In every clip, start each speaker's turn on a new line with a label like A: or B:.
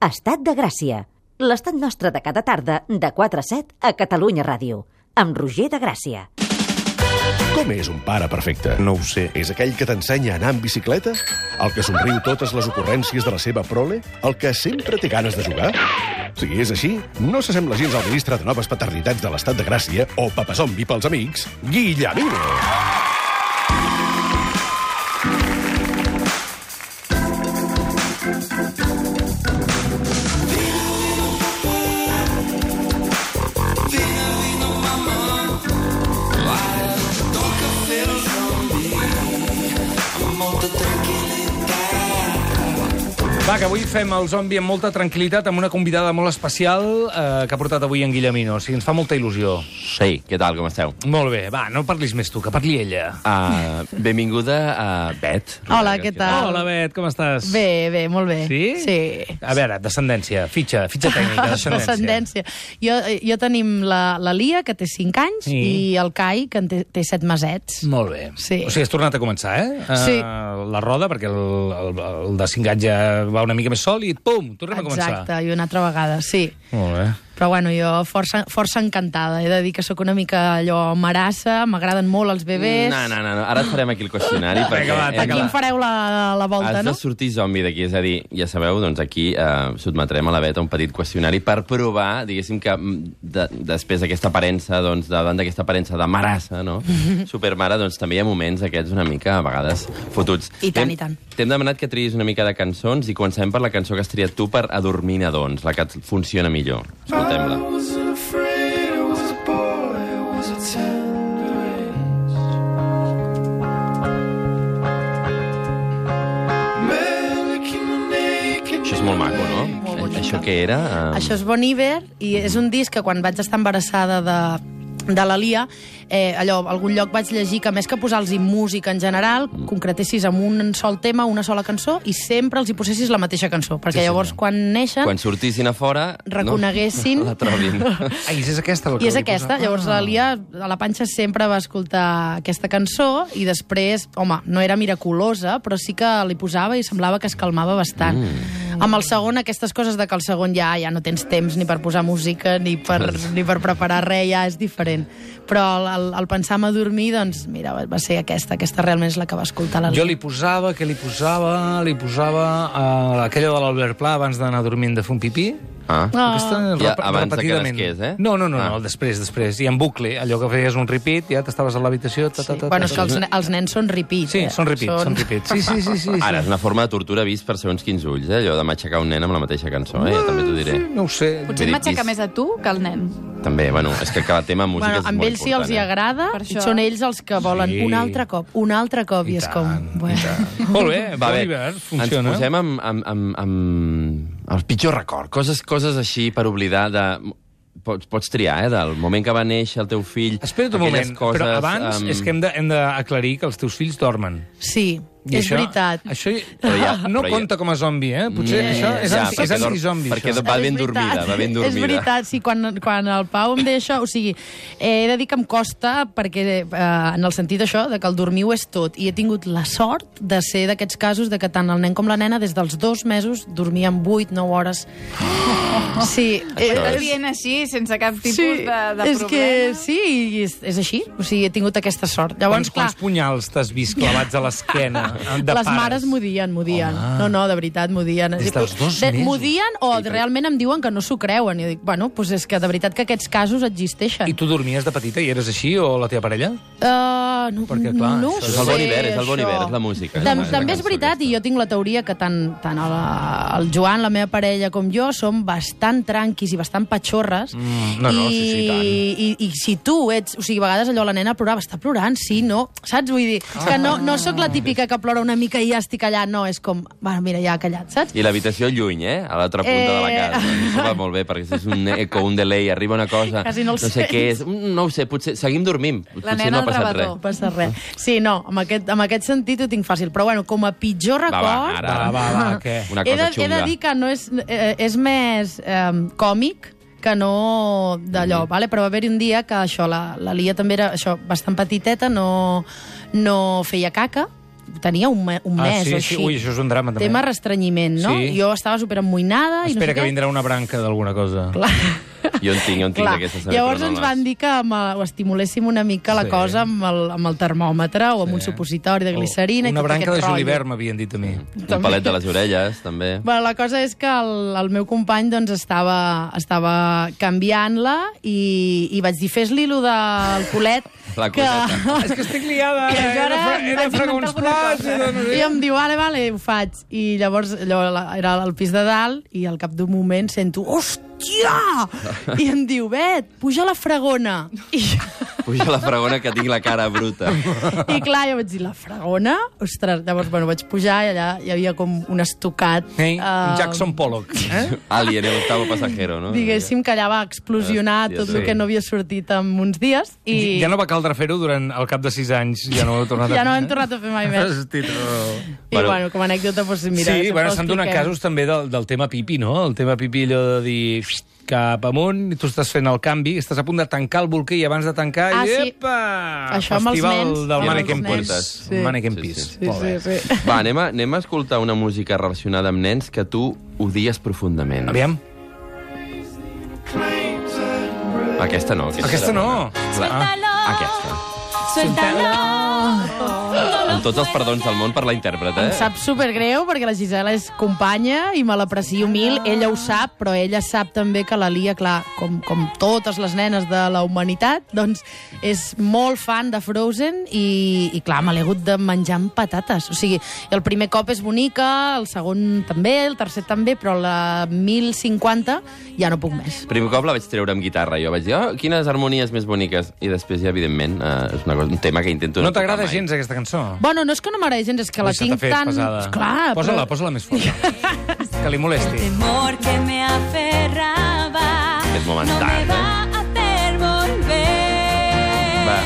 A: Estat de Gràcia. L'estat nostre de cada tarda, de 4 a 7, a Catalunya Ràdio. Amb Roger de Gràcia.
B: Com és un pare perfecte?
C: No ho sé.
B: És aquell que t'ensenya a anar amb bicicleta? El que somriu totes les ocurrències de la seva prole? El que sempre té ganes de jugar? Si és així, no s'assembla gens al ministre de Noves Paternitats de l'Estat de Gràcia o papazombi pels amics, Guillemino.
D: Va, que avui fem el zombi amb molta tranquil·litat, amb una convidada molt especial eh, que ha portat avui en Guillemino. O sigui, ens fa molta il·lusió.
C: Sí, què tal, com esteu?
D: Molt bé, va, no parlis més tu, que parli ella.
C: Uh, benvinguda a Bet.
E: Hola, què tal?
D: Hola, Bet, com estàs?
E: Ah. Bé, bé, molt bé.
D: Sí?
E: Sí.
D: A veure, descendència, fitxa, fitxa tècnica, descendència.
E: Descendència. Jo, jo tenim la, la Lia, que té 5 anys,
D: Sí.
E: i el Kai, que en té, té 7 mesets.
D: Molt bé.
E: Sí.
D: O sigui, has tornat a començar, eh? Eh,
E: Sí.
D: La roda, perquè el, el, el de 5 anys ja va una mica més sol i pum, tornem a començar.
E: Exacte, i una altra vegada, sí.
D: Molt bé.
E: Però bueno, jo força, força encantada. He de dir que sóc una mica allò marassa, m'agraden molt els bebès.
C: No, no, no, no, ara et farem aquí el qüestionari. perquè
D: va,
C: hem-
E: Aquí em fareu la, la volta,
C: Has
E: no?
C: de sortir zombi d'aquí, és a dir, ja sabeu, doncs aquí eh, sotmetrem a la beta un petit qüestionari per provar, diguéssim que mm, de, després d'aquesta aparença, doncs, davant d'aquesta aparença de marassa, no?
E: Mhm.
C: Supermare, doncs també hi ha moments aquests una mica, a vegades, fotuts.
E: I tant,
C: T'hem-
E: i tant.
C: T'hem demanat que triguis una mica de cançons i comencem per la cançó que has triat tu per adormir nadons, la que et funciona millor. Escoltem-la.
F: I was afraid it was a boy, it was a tender age. Mannequin naked.
C: Això és molt maco, no?
E: Molt bonic.
C: Això què era? Eh,
E: Això és Bon Iver i és un disc que quan vaig estar embarassada de, de la Lia, eh, allò, a algun lloc vaig llegir que més que posar-los música en general, concretessis amb un sol tema, una sola cançó, i sempre els hi posessis la mateixa cançó, perquè sí, llavors quan neixen
C: Quan sortissin a fora...
E: reconeguessin...
C: No, la trobin.
D: Ai, Ah, és aquesta la que
E: I és
D: li
E: aquesta,
D: posava?
E: llavors la Lia a la panxa sempre va escoltar aquesta cançó i després, home, no era miraculosa, però sí que li posava i semblava que es calmava bastant. Mm. Amb el segon, aquestes coses de que el segon ja ja no tens temps ni per posar música ni per, ni per preparar res, ja és diferent. Però el, el, el pensar-me a dormir, doncs, mira, va, va ser aquesta, aquesta realment és la que va escoltar la Lia.
D: Jo li posava, que li posava, li posava eh, aquella de l'Albert Pla abans d'anar dormint de fer un pipí.
C: Ah.
E: Ah.
D: Aquesta
C: Ja,
D: rep-
C: abans de que
D: repetidament.
C: nasqués, eh?
D: No, no, no,
C: Ah.
D: no, després, després. I en bucle, allò que feies un repeat, ja t'estaves a l'habitació... Ta, ta, ta,
E: Sí.
D: ta,
E: Bueno, és que
D: ta,
E: els, ne- els nens són repeat.
D: Sí,
E: eh?
D: són repeats, són, són repeats. Sí, sí, sí, sí. sí.
C: Ara, és una forma de tortura vist per segons quins ulls, eh? allò de matxacar un nen amb la mateixa cançó, eh?
E: Ah,
C: Jo també t'ho diré.
D: No ho sé.
C: Vull
G: Potser
C: dir,
G: m'aixeca
C: qui-
G: més a tu que al nen.
C: També, bueno, és que cada tema música
E: Bueno,
C: és
E: amb
C: molt
E: ells sí els
C: important,
E: hi
C: eh?
E: agrada,
G: Per
E: i
G: això.
E: són ells els que volen
D: Sí.
E: un altre cop, un altre cop, i, és com...
D: i tant. Molt bé,
C: Eh?
D: va
C: Va
D: bé.
C: bé,
D: funciona.
C: ens posem amb, amb, amb, amb el pitjor record, coses, coses així per oblidar de... Pots, pots triar, eh? Del moment que va néixer el teu fill...
D: Espera't un
C: aquelles um,
D: moment, coses, però abans
C: em,
D: és que hem de- hem d'aclarir que els teus fills dormen.
E: Sí,
D: I
E: és
D: això,
E: veritat.
D: Això
C: Però ja-
D: no
C: però ja-
D: compta com a zombi, eh? Potser
C: Mm,
D: això és,
C: ja,
D: anti-
C: perquè
D: és
C: dorm-
D: anti-zombi.
C: perquè
D: això.
C: dorm- va
E: És
C: ben
E: veritat.
C: dormida, va ben
E: És
C: dormida.
E: veritat, sí, quan, quan el Pau em deixa... O sigui, eh, he de dir que em costa perquè, eh, en el sentit això, de que el dormir ho és tot, i he tingut la sort de ser d'aquests casos de que tant el nen com la nena, des dels dos mesos, dormien 8-9 hores. Sí, eh,
G: Estàs
E: és-
G: dient així, sense cap tipus de, de
E: és
G: problema.
E: que sí, i és, és així. O sigui, he tingut aquesta sort. Llavors,
D: Quants, quants
E: clar,
D: punyals t'has vist clavats a l'esquena de
E: les
D: pares? Ah.
E: mares m'odien, m'odien. No, no, de veritat, m'odien.
D: Des dels dos
E: De-
D: mesos.
E: M'odien o realment em diuen que no s'ho creuen. I dic, bueno, doncs és que de veritat que aquests casos existeixen.
D: I tu dormies de petita i eres així, o la teva parella?
E: Uh, no,
D: Perquè, clar,
E: no
D: això
C: és el
E: sé,
C: Bon Iver, és el Bon
E: això.
C: Iver, és la música, és la
E: Tam
C: música
E: també és
C: cançó
E: veritat,
C: aquesta.
E: i jo tinc la teoria que tant, tant el, el Joan, la meva parella, com jo som bastant tranquis i bastant patxorres.
D: Mm, no, no,
E: i,
D: sí, sí, i tant.
E: I, i, si tu ets... O sigui, a vegades allò la nena plorava, està plorant, sí, no, saps? Vull dir, és que no,
C: Ah.
E: no sóc la típica que plora una mica i ja estic allà, no, és com, bueno, mira, ja ha callat, saps?
C: I l'habitació lluny, eh? A l'altra punta eh... de la
E: Eh.
C: casa. Això va molt bé, perquè si és un eco, un delay, arriba una cosa...
E: Quasi no el
C: no sé què és.
E: sents.
C: Mm, No ho sé, potser... Seguim dormint.
G: La
C: potser
G: nena
C: no ha
G: al
C: passat
G: rebedor.
C: res.
E: No passa res. Sí, no, amb aquest, amb aquest sentit ho tinc fàcil. Però, bueno, com a pitjor
C: Va,
E: record...
C: va, ara,
D: Va, va, va, què?
C: Una cosa
E: he de,
C: xunga.
E: He de dir que no és, eh, és més eh, còmic que no
D: Mm-hmm.
E: d'allò, vale? però va haver-hi un dia que això, la, la Lia també era això, bastant petiteta, no, no feia caca, tenia un, me- un mes
D: ah, sí,
E: o
D: sí.
E: així.
D: Ui, això és un drama, també.
E: Tema restrenyiment, no?
D: Sí.
E: Jo estava superemmoïnada i no
D: Espera
E: sé
D: que
E: què.
D: vindrà una branca d'alguna cosa.
E: Clar.
C: Jo en tinc, jo en tinc
E: Clar,
C: d'aquestes
E: Llavors
C: amicronoles.
E: ens van dir que amb, eh, ho estimuléssim una mica la
D: Sí. Oh,
E: cosa amb el, amb el termòmetre o amb un supositori de glicerina. i
D: Una
E: tot
D: branca
E: aquest
D: de
E: rotllo.
D: julivert, m'havien dit a mi.
C: Un palet de les orelles, també.
E: Bé, la cosa és que el, el meu company doncs, estava, estava canviant-la i, i vaig dir, fes-li lo del culet
C: La
E: que...
C: coseta.
D: És que estic liada,
E: I
D: he
E: jo
D: de
E: ara
D: fer- he de fregar
E: vaig inventar
D: uns
E: alguna
D: plats
E: cosa.
D: i de no sé-
E: I em diu, vale, vale, ho faig. I llavors allò, la, era al pis de dalt i al cap d'un moment sento, hòstia! I em diu, Bet, puja a la fregona. I,
C: Puja la fragona que tinc la cara bruta.
E: I clar, jo vaig dir, la fregona? Ostres, llavors, bueno, vaig pujar i allà hi havia com un estocat.
D: Ei,
E: eh,
D: Jackson Pollock. Eh?
C: Alien, el octavo pasajero, no?
E: Diguéssim que allà va explosionar
C: Ah, Hòstia,
E: tot
C: sí.
E: el que no havia sortit en uns dies i
D: Ja no va caldre fer-ho durant el cap de sis anys. Ja no ho he tornat a
E: ja no
D: fer,
E: hem
D: eh?
E: tornat a fer mai més.
D: Hosti, tu.
E: I
C: Bueno.
E: bueno, com a anècdota, doncs mira...
D: sí,
E: sempre
D: bueno,
E: ho
D: s'han donat
E: expliquem.
D: casos també del, del tema pipi, no? El tema pipi allò de dir "Xt, cap amunt, i tu estàs fent el canvi, estàs a punt de tancar el bolquer i abans de tancar,
E: Ah,
D: i
E: sí.
D: epa!
E: Això amb els
D: Festival
E: nens, amb
D: del
E: els
D: Mannequin
C: nens.
D: Pis.
E: Sí.
D: Mannequin
C: Sí,
D: Pis.
C: sí.
E: Sí, sí, sí.
C: Va, anem a, anem a escoltar una música relacionada amb nens que tu odies profundament.
D: Aviam.
C: Aquesta no. Aquesta,
D: Aquesta
C: era
D: no.
C: bona.
D: Ah.
C: Aquesta. Amb tots els perdons del món per la intèrpreta,
E: Em
C: eh?
E: sap supergreu perquè la Gisela és companya i me l'aprecio mil. Ella ho sap, però ella sap també que la Lia, clar, com, com totes les nenes de la humanitat, doncs és molt fan de Frozen i, i clar, me l'he hagut de menjar amb patates. O sigui, el primer cop és bonica, el segon també, el tercer també, però la 1050 ja no puc més.
C: Primer cop la vaig treure amb guitarra. Jo vaig dir, oh, quines harmonies més boniques. I després, ja, evidentment, eh, és una cosa, un tema que intento...
D: No
C: tocar
D: t'agrada
C: mai.
D: gens aquesta cançó?
E: Bueno, no és que no m'agradi gens, és que la
D: Ui, se t'ha
E: tinc
D: fet
E: tan...
D: pesada.
E: Clar,
D: Posa-la,
E: però-
D: posa-la més forta. que li molesti.
H: amor que me aferraba
C: Es
H: no me
C: momentània.
H: va a hacer volver.
C: Va.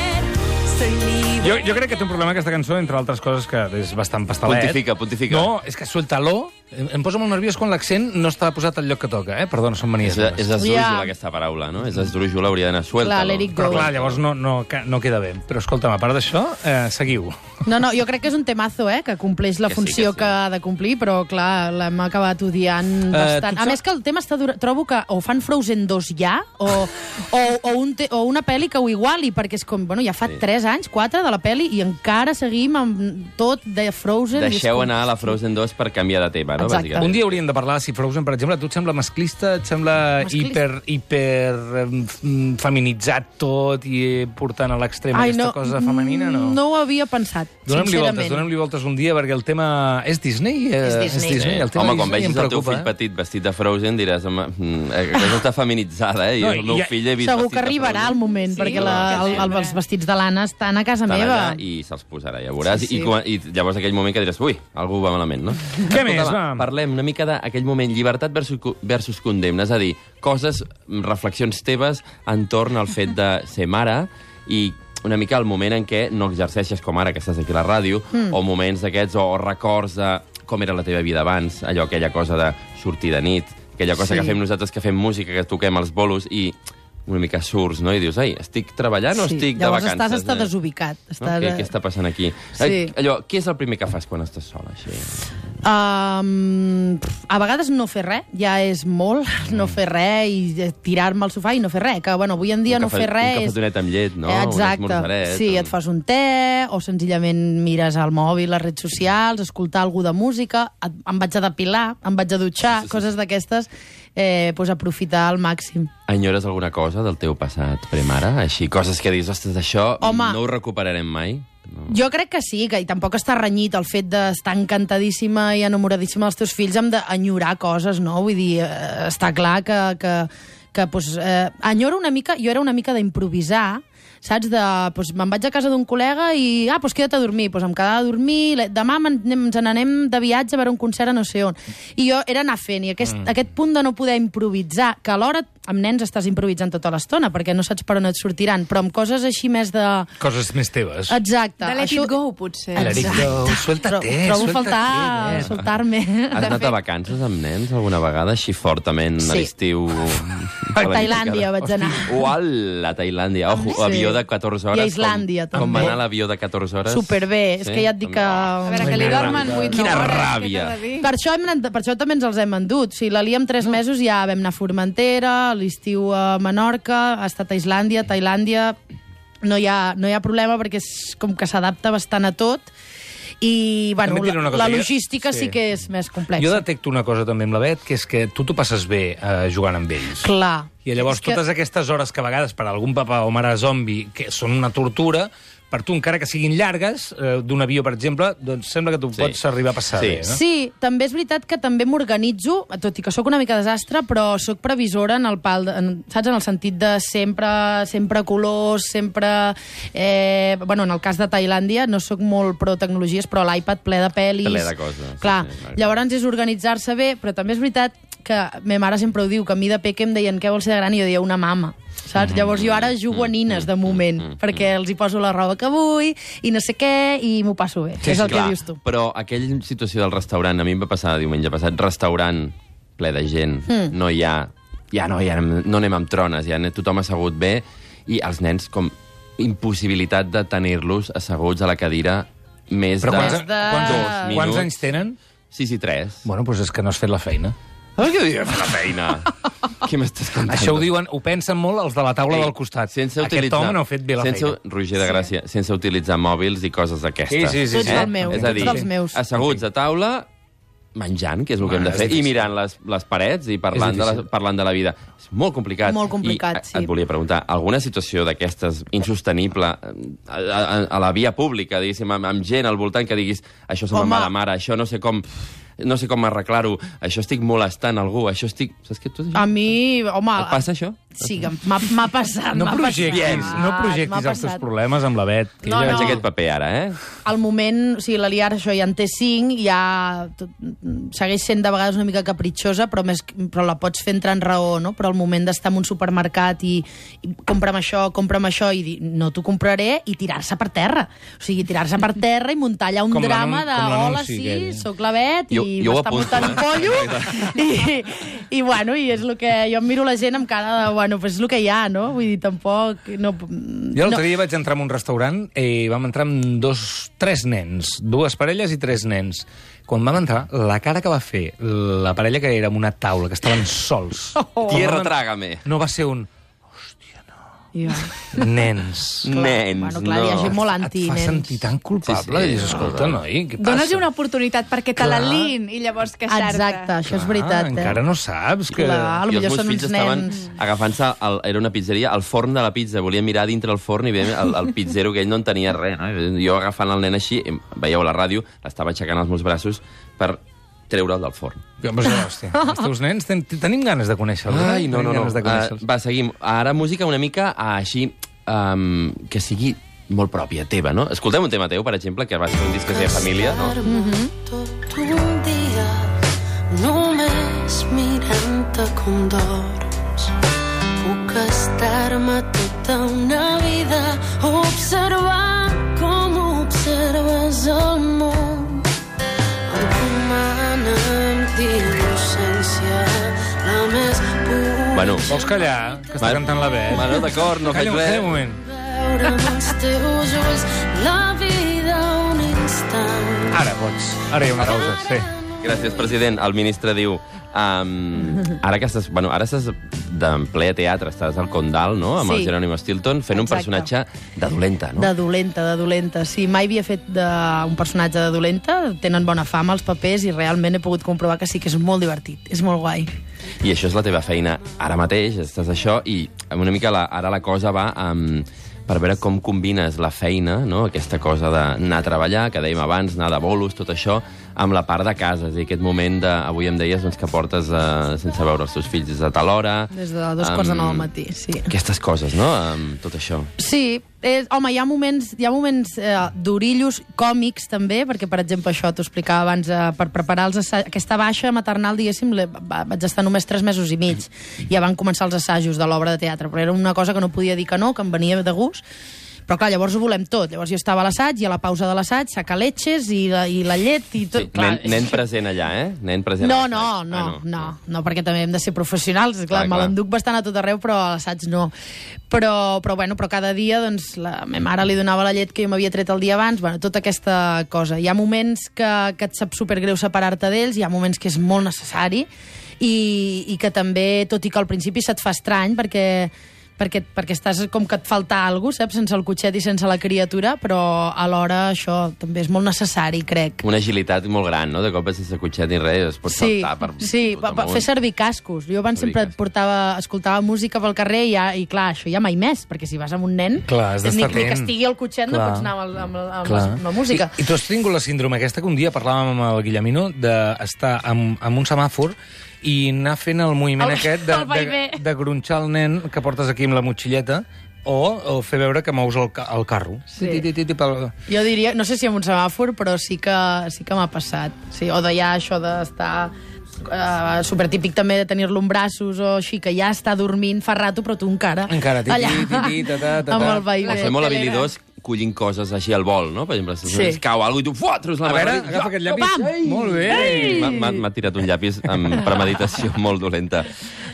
H: Soy libre.
D: Jo, jo crec que té un problema aquesta cançó, entre altres coses, que és bastant pastalet.
C: Pontifica, pontifica.
D: No, és que suelta-lo... Em, em posa molt nerviós quan l'accent no està posat al lloc que toca, eh? Perdona, són manies.
C: És, és
D: meves.
C: esdrújula,
E: Ja.
C: aquesta paraula, no? És esdrújula, hauria d'anar suelta.
E: La let it
D: Però
E: go.
D: clar, llavors no, no, ca- no queda bé. Però escolta'm, a part d'això, eh, seguiu.
E: No, no, jo crec que és un temazo, eh, que compleix la
C: Que sí,
E: funció
C: que sí.
E: que, ha de complir, però, clar, l'hem acabat odiant
D: Eh, tu
E: bastant.
D: saps-
E: A més que el tema està... Dura... Trobo que o fan Frozen 2 ja, o, o, o, un te... o una pel·li que ho iguali, perquè és com, bueno, ja fa 3 anys, 4 de la pel·li, i encara seguim amb tot de Frozen. i és
C: Deixeu
E: com-
C: anar a la Frozen 2 per canviar de tema, no?
E: Exacte.
C: Bàsicament.
D: Un dia hauríem de parlar si Frozen, per exemple, a tu et sembla masclista, et sembla
E: Masclista.
D: hiper, hiper em, f- mm, feminitzat tot i eh, portant a l'extrem
E: Ai,
D: aquesta cosa femenina? No.
E: No ho havia pensat,
D: Donem-li
E: sincerament.
D: voltes, donem-li voltes un dia, perquè el tema... És Disney? Eh,
E: És Disney.
C: Eh,
D: El tema
C: Home,
D: Disney
C: quan vegis
D: em
C: el teu
D: preocupa,
C: fill
D: eh?
C: petit vestit de Frozen diràs, home, mm, eh, aquesta està feminitzada, eh? I
D: No,
C: el
D: i
C: meu
D: ja-
C: fill he vist
E: Segur
C: vestit de
E: que arribarà
C: Frozen.
E: el moment,
G: Sí,
E: perquè la, el, el,
G: sempre.
E: els vestits de l'Anna estan a casa
C: eh? Estan
E: meva.
C: allà i se'ls posarà, ja veuràs.
E: Sí, sí.
C: I, quan, I llavors aquell moment que diràs, ui, algú va malament, no? Escolta,
D: més,
C: va,
D: va?
C: Parlem una mica d'aquell moment, llibertat versus, co- versus condemna, és a dir, coses, mm, reflexions teves entorn al fet de ser mare i una mica el moment en què no exerceixes com ara que estàs aquí a la ràdio, mm. o moments d'aquests, o, o records de com era la teva vida abans, allò, aquella cosa de sortir de nit, aquella cosa
E: Sí.
C: sí. que fem nosaltres, que fem música, que toquem els bolos, i una mica surts, no? I dius, ai, estic treballant o estic de
E: Llavors
C: vacances?
E: estàs estar
C: eh?"
E: desubicat.
C: No?
E: Estàs,
C: Què, què està passant aquí?
E: Sí.
C: Eh, Allò, què és el primer que fas quan estàs sola? Així?
E: Um, pf, a vegades no fer res, ja és molt,
C: Mm.
E: no fer res i eh, tirar-me al sofà i no fer res, que bueno, avui en dia
C: Un
E: no
C: cafe-
E: fer res...
C: un
E: és-
C: cafetonet amb llet, no?
E: Eh,
C: Un
E: Exacte.
C: esmorzaret,
E: sí,
C: un-
E: et fas un te, o senzillament mires al mòbil, les redes socials, escoltar algú de música, et, em vaig a depilar, em vaig a dutxar,
C: Sí, sí, sí.
E: coses d'aquestes, eh, pues aprofitar al màxim.
C: Enyores alguna cosa del teu passat premare? Així, coses que dius, ostres, això
E: Home.
C: no ho recuperarem mai? No.
E: Mm. Jo crec que sí, que i tampoc està renyit el fet d'estar encantadíssima i enamoradíssima dels teus fills amb d'enyorar coses, no? Vull dir, eh, està clar que... que, que pues, eh, enyoro una mica... Jo era una mica d'improvisar, saps? De, pues, me'n vaig a casa d'un col·lega i... Ah, pues queda't a dormir. Pues em quedava a dormir. le- Demà me'n- anem- ens n'anem de viatge a veure un concert a no sé on. I jo era anar fent. I aquest, mm. aquest punt de no poder improvisar, que alhora amb nens estàs improvisant tota l'estona, perquè no saps per on et sortiran, però amb coses així més de...
D: Coses més teves.
E: Exacte.
G: De Let It Go, potser.
D: Let it go,
E: Tro-
D: suéltate,
E: Trobo a
D: suéltate,
E: faltar
D: nena.
E: soltar-me.
C: Has anat a vacances amb nens alguna vegada, així fortament, a
E: Sí.
C: l'estiu?
E: A Tailàndia vaig anar.
C: Uala, Tailàndia. Ojo,
E: Sí.
C: avió de 14
E: I a
C: hores.
E: Islàndia,
C: com, Com
E: també.
C: va anar l'avió de 14 hores?
E: Superbé, és que ja et dic
C: també.
E: que-
G: A veure, que li
D: Quina
G: dormen 8
C: Quina
G: hores. què
C: ràbia.
G: t'ha de dir?
E: Per això, hem anat, per això també ens els hem endut. O sigui, la Lia amb tres mesos ja vam anar a Formentera, a l'estiu a Menorca, ha estat a Islàndia, Tailàndia... No hi ha, no hi ha problema perquè és com que s'adapta bastant a tot i bueno,
D: També et diré
E: la,
D: una cosa,
E: la
D: jo-
E: logística sí.
D: sí.
E: sí que és més complexa.
D: Jo detecto una cosa també amb la Bet, que és que tu t'ho passes bé eh, jugant amb ells.
E: Clar.
D: I llavors tota
E: És que-
D: totes aquestes hores que a vegades per a algun papa o mare zombi que són una tortura, per tu, encara que siguin llargues, eh, d'un avió, per exemple, doncs sembla que tu
C: Sí.
D: sí. pots arribar a passar
C: Sí.
D: bé, no?
E: Sí, també és veritat que també m'organitzo, tot i que sóc una mica desastre, però sóc previsora en el pal, de- en, saps? En el sentit de sempre, sempre colors, sempre... Eh, bueno, en el cas de Tailàndia no sóc molt pro tecnologies, però l'iPad ple de pel·lis...
C: Ple de coses, sí,
E: Clar,
C: sí,
E: sí,
C: clar.
E: sí, llavors és organitzar-se bé, però també és veritat que ma mare sempre ho diu, que a mi de peque em deien què vols ser de gran i jo deia una mama. Saps?
C: Mm-hmm.
E: Llavors jo ara jugo a nines de moment, perquè els hi poso la roba que vull i no sé què i m'ho passo bé. és el que dius tu.
C: Però aquella situació del restaurant, a mi em va passar diumenge passat, restaurant ple de gent,
D: Hmm.
C: mm. no hi ha... Ja no, ja anem, no anem amb trones, ja anem- tothom assegut bé, i els nens com impossibilitat de tenir-los asseguts a la cadira més
D: Però quants,
C: de...
E: Des de-
D: quants,
C: Dos
D: anys, quants
C: minuts.
D: anys tenen?
C: Sí, sí, tres.
D: Bueno, doncs és que no has fet la feina.
C: Ai, què dius? La feina. Què m'estàs contant?
D: Això ho diuen, ho pensen molt els de la taula
C: Ei,
D: del costat.
C: Sense
D: Aquest
C: utilitzar,
D: home no ha fet bé la
C: sense,
D: feina.
C: Roger de Gràcia, sí. sense utilitzar mòbils i coses d'aquestes.
D: Sí, sí, sí,
E: Tots sí. del meu,
C: És a dir,
E: tots dels meus.
C: asseguts a taula, menjant, que és el que
D: Ah,
C: hem de
D: és
C: fer, i
D: difícil.
C: mirant les, les parets i
D: És
C: parlant de, la,
D: difícil.
C: parlant de la vida. És molt complicat.
E: Molt complicat,
C: I, a-
E: sí.
C: Et volia preguntar, alguna situació d'aquestes insostenible a, a, a la via pública, diguéssim, amb, amb gent al voltant que diguis això se me'n
E: Home.
C: va la mare, això no sé com no sé com arreglar-ho, això estic molestant algú, això estic... Saps què? Tot això?
E: A mi, home...
C: Et passa això?
E: Sí, que m'ha m'ha passat.
D: No
E: m'ha
D: projectis,
E: passat,
D: no
E: m'ha
D: projectis els
E: passat.
D: teus problemes amb la Bet. que
E: No,
D: ella-
C: Veig aquest paper ara, eh?
E: Al moment, o sigui, la Liara, això ja en té 5, ja tot, segueix sent de vegades una mica capritxosa, però, més, però la pots fer entrar en raó, no? Però al moment d'estar en un supermercat i, i compra'm això, compra'm això, i dir, no t'ho compraré, i tirar-se per terra. O sigui, tirar-se per terra i muntar allà un
D: Com
E: drama
D: l'anun-
E: de
D: com l'anunci
E: hola, sí,
D: aquell". eh?"
E: sóc la Bet,
C: Jo-
E: i
C: jo ho
E: m'està
C: apunto,
E: muntant un
C: eh?
E: pollo, i, i bueno, i és el que jo em miro la gent amb cara de, bueno, pues és el que hi ha, no? Vull dir, tampoc... No,
D: Jo
E: no.
D: l'altre dia vaig entrar en un restaurant i vam entrar amb dos, tres nens, dues parelles i tres nens. Quan vam entrar, la cara que va fer la parella que era en una taula, que estaven sols. Oh.
C: Tierra, trágame.
D: No va ser un
E: Jo.
D: nens.
C: Nens,
E: bueno, clar, hi ha gent
C: no.
E: molt
D: Et
E: anti,
D: fa
E: nens.
D: sentir tan culpable.
C: Sí,
D: Sí,
C: sí.
D: sí. Dius, escolta, noi, què passa?
G: Dóna-li una oportunitat perquè te la li'n i llavors queixar-te.
E: Exacte, això és veritat.
D: Ah,
E: eh?
D: encara no saps que...
E: Clar,
C: I els
E: potser
C: meus
E: són
C: fills
E: uns
C: estaven
E: nens...
C: agafant-se, al- era una pizzeria, al forn de la pizza. Volia mirar dintre el forn i veiem el, el pizzero que ell no en tenia res. No? Jo agafant el nen així, em- veieu la ràdio, l'estava aixecant els meus braços per treure'l del forn.
D: Ja, Però, hòstia, els teus nens ten tenim ganes de conèixer-los. eh?
C: Ai, no, no,
D: Tenim
C: no.
D: ganes de
C: Uh,
D: conèixer-los.
C: va, seguim. Ara música una mica uh, així, um, que sigui molt pròpia teva, no? Escoltem un tema teu, per exemple, que va ser un disc que es deia Família, no?
I: Tú un día no me mirando con dorms. Puc estar-me tota una vida observant com observes el món. Encomana'm d'innocència la més pura.
C: Bueno,
D: Vols callar? Que està
C: Vale.
D: cantant la Bet.
C: Bueno, d'acord, no faig
D: Calla un
C: res.
D: moment.
I: Veure amb els teus ulls la vida un instant.
D: Ara pots. Ara hi ha una pausa, sí.
C: Gràcies, president. El ministre diu... Um, ara que estàs, bueno, ara estàs d'en ple teatre, estàs al Condal, no?, amb
E: Sí.
C: el Jerónimo Stilton, fent un
E: Exacte.
C: personatge de dolenta, no?
E: De dolenta, de dolenta. Sí, mai havia fet de... un personatge de dolenta. Tenen bona fama els papers i realment he pogut comprovar que sí que és molt divertit. És molt guai.
C: I això és la teva feina ara mateix, estàs això, i una mica la, ara la cosa va um, per veure com combines la feina, no?, aquesta cosa d'anar a treballar, que dèiem abans, anar de bolos, tot això, amb la part de casa, és a dir, aquest moment de, avui em deies doncs, que portes uh, sense veure els teus fills des de tal hora...
E: Des de dos quarts de nou
C: em,
E: del matí, sí.
C: Aquestes coses, no?, um, tot això.
E: Sí, eh, home, hi ha moments, hi ha moments eh, d'orillos còmics també, perquè, per exemple, això t'ho explicava abans, eh, per preparar els assajos, aquesta baixa maternal, diguéssim, l'he- va- vaig estar només tres mesos i mig. Ja van començar els assajos de l'obra de teatre, però era una cosa que no podia dir que no, que em venia de gust. Però clar, llavors ho volem tot. Llavors jo estava a l'assaig i a la pausa de l'assaig sacar letxes i la, i la llet i tot.
C: Sí,
E: clar,
C: nen, nen present allà, eh? Ah, Nen present
E: No,
C: a
E: no,
C: l'assaig.
E: no, no, no, no, perquè també hem de ser professionals, clar,
C: Clar,
E: me
C: clar.
E: l'enduc bastant a tot arreu, però a l'assaig no. Però, però, bueno, però cada dia, doncs, la meva mare li donava la llet que jo m'havia tret el dia abans, bueno, tota aquesta cosa. Hi ha moments que, que et sap supergreu separar-te d'ells, hi ha moments que és molt necessari, i, i que també, tot i que al principi se't fa estrany, perquè perquè, perquè estàs com que et falta alguna cosa, saps? Sense el cotxet i sense la criatura, però alhora això també és molt necessari, crec.
C: Una agilitat molt gran, no? De cop sense cotxet ni res, es pot saltar per...
E: Sí,
C: tot
E: per, per
C: amunt.
E: fer servir cascos. Jo abans
C: Servir
E: sempre
C: cascos.
E: portava, escoltava música pel carrer i, ja, i clar, això ja mai més, perquè si vas amb un nen,
D: Clar, has
E: ni,
D: d'estar
E: ni que
D: atent.
E: estigui al cotxet no
D: Clar.
E: pots anar amb, el, amb, el, amb,
D: Clar.
E: la, amb la música.
D: I, I tu has tingut la síndrome aquesta que un dia parlàvem amb el Guillemino d'estar amb, amb un semàfor i anar fent el moviment
E: El-
D: aquest de,
E: el
D: de,
E: vaivé.
D: de gronxar el nen que portes aquí amb la motxilleta o, o fer veure que mous el, ca- el carro.
E: Sí.
D: Ti, ti, ti, ti, pel-
E: Jo diria, no sé si amb un semàfor, però sí que, sí que m'ha passat. Sí, o de ja això d'estar... Uh, supertípic també de tenir-lo en braços o així, que ja està dormint fa rato, però tu encara...
D: Encara, ti, ti, ti, ti, ta, ta, ta,
E: amb
D: ta.
E: el
C: O
E: vaivé.
C: ser molt habilidors collint coses així al vol, no? Per exemple, si
E: Sí.
C: sí. cau alguna cosa i tu fotres la
D: A veure,
C: mare.
D: agafa aquest llapis. Ei! Molt bé.
C: M'ha- M'ha m'ha tirat un llapis amb premeditació molt dolenta.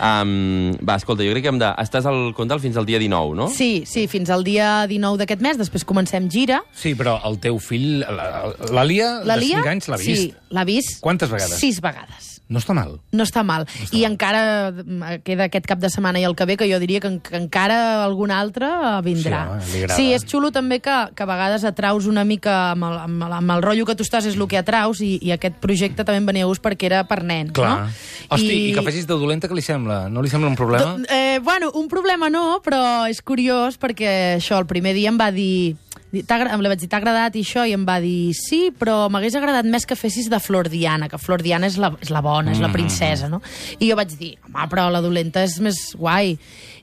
C: Um, va, escolta, jo crec que hem de... Estàs al Condal fins al dia 19, no?
E: Sí, sí, fins al dia 19 d'aquest mes, després comencem gira.
D: Sí, però el teu fill, la- la Lia,
E: La
D: de
E: Lia,
D: 5 anys, l'ha vist.
E: Sí, l'ha vist.
D: Quantes vegades?
E: Sis vegades.
D: No està mal.
E: No està mal. I encara mm, queda aquest cap de setmana i el que ve, que jo diria que, en- que encara algun altre eh, vindrà.
D: Sí, home, li agrada.
E: sí, és xulo també que, que a vegades atraus una mica amb el, amb, el, amb el rotllo que tu estàs és el que atraus i, i aquest projecte també em venia a gust perquè era per nens,
D: Clar.
E: no?
D: Hosti, i... que facis de dolenta, que li sembla? No li sembla un problema?
E: Do- eh, bueno, un problema no, però és curiós perquè això, el primer dia em va dir... di- "T'ha agra- Em li vaig dir, t'ha agradat i això? I em va dir, sí, però m'hagués agradat més que fessis de Flor Diana, que Flor Diana és la, és la bona, és la princesa, no? I jo vaig dir, home, però la dolenta és més guai.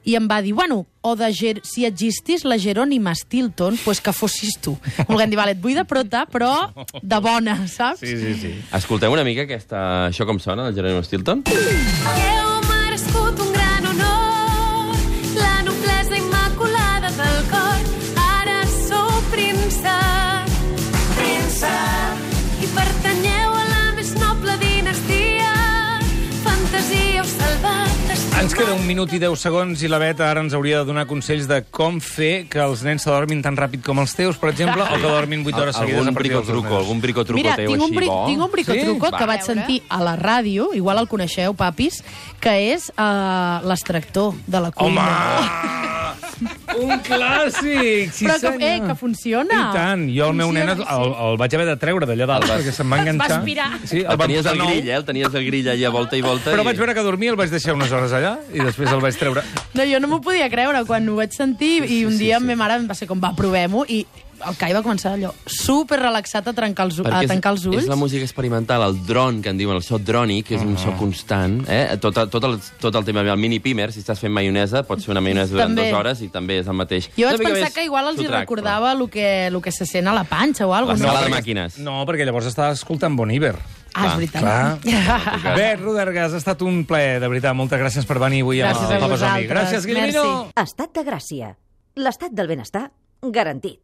E: I em va dir, bueno, o de Ger si existís la Jerònima Stilton, pues que fossis tu. Volguem dir, vale, et vull de prota, però de bona, saps? Sí, sí.
C: Escolteu una mica aquesta... això com sona, del Jerónimo Stilton?
I: Heu merescut un gran honor, la noblesa immaculada del cor. Ara sou príncep, príncep, i pertanyeu a la més noble dinastia. Fantasia us salvat,
D: Ens queda un minut i 10 segons i la Beta ara ens hauria de donar consells de com fer que els nens s'adormin tan ràpid com els teus, per exemple, o que dormin 8 hores seguides
C: algun
D: a partir dels dos
C: bricotruco,
D: mesos.
C: algun bricotruco
E: Mira,
C: teu
E: tinc un,
C: així bo?
E: tinc un bricotruco
C: Sí?
E: que
C: Va.
E: vaig sentir a la ràdio, igual el coneixeu, papis, que és uh, l'extractor de la cuina.
D: Home! un clàssic! Sí,
E: Però que,
D: senyor.
E: eh, que funciona.
D: I tant. Jo, el meu nen, el, el vaig haver de treure d'allà dalt,
C: El vas-
D: perquè se'm va enganxar.
E: aspirar.
D: Sí,
C: El
D: van
C: tenies
D: posar
C: al
D: nou,
C: grill, eh? El tenies al grill allà volta i volta.
D: Però
C: i...
D: vaig veure que dormia, el vaig deixar unes hores allà i després el vaig treure.
E: No, jo no m'ho podia creure quan ho vaig sentir i un dia sí, ma mare em va ser com, va, provem-ho, i el Cai va començar allò super relaxat a, trencar els, u- a
C: Perquè és-
E: tancar els ulls.
C: És la música experimental, el dron, que en diuen, el so droni, que és un
D: Ah.
C: so constant. Eh? Tot, tot, el, tot el tema, el mini pimer, si estàs fent maionesa, pots fer una maionesa durant
E: També.
C: dues hores i també és el mateix.
E: Jo vaig
C: Una mica
E: pensar
C: més
E: que igual els hi
C: sotrac,
E: recordava el que, el que se sent a la panxa o alguna
C: La sala de
E: no?
C: màquines.
D: No, perquè llavors estava escoltant Bon Iver.
E: Ah, és
C: Clar,
E: veritat.
D: clar.
C: Clar.
D: Bet Rodergas, ha estat un plaer, de veritat. Moltes gràcies per venir avui
E: Gràcies
D: amb
E: a
D: el Papa Zombie.
E: vosaltres.
D: Gràcies, Guillemino.
E: Merci.
A: Estat de gràcia. L'estat del benestar garantit.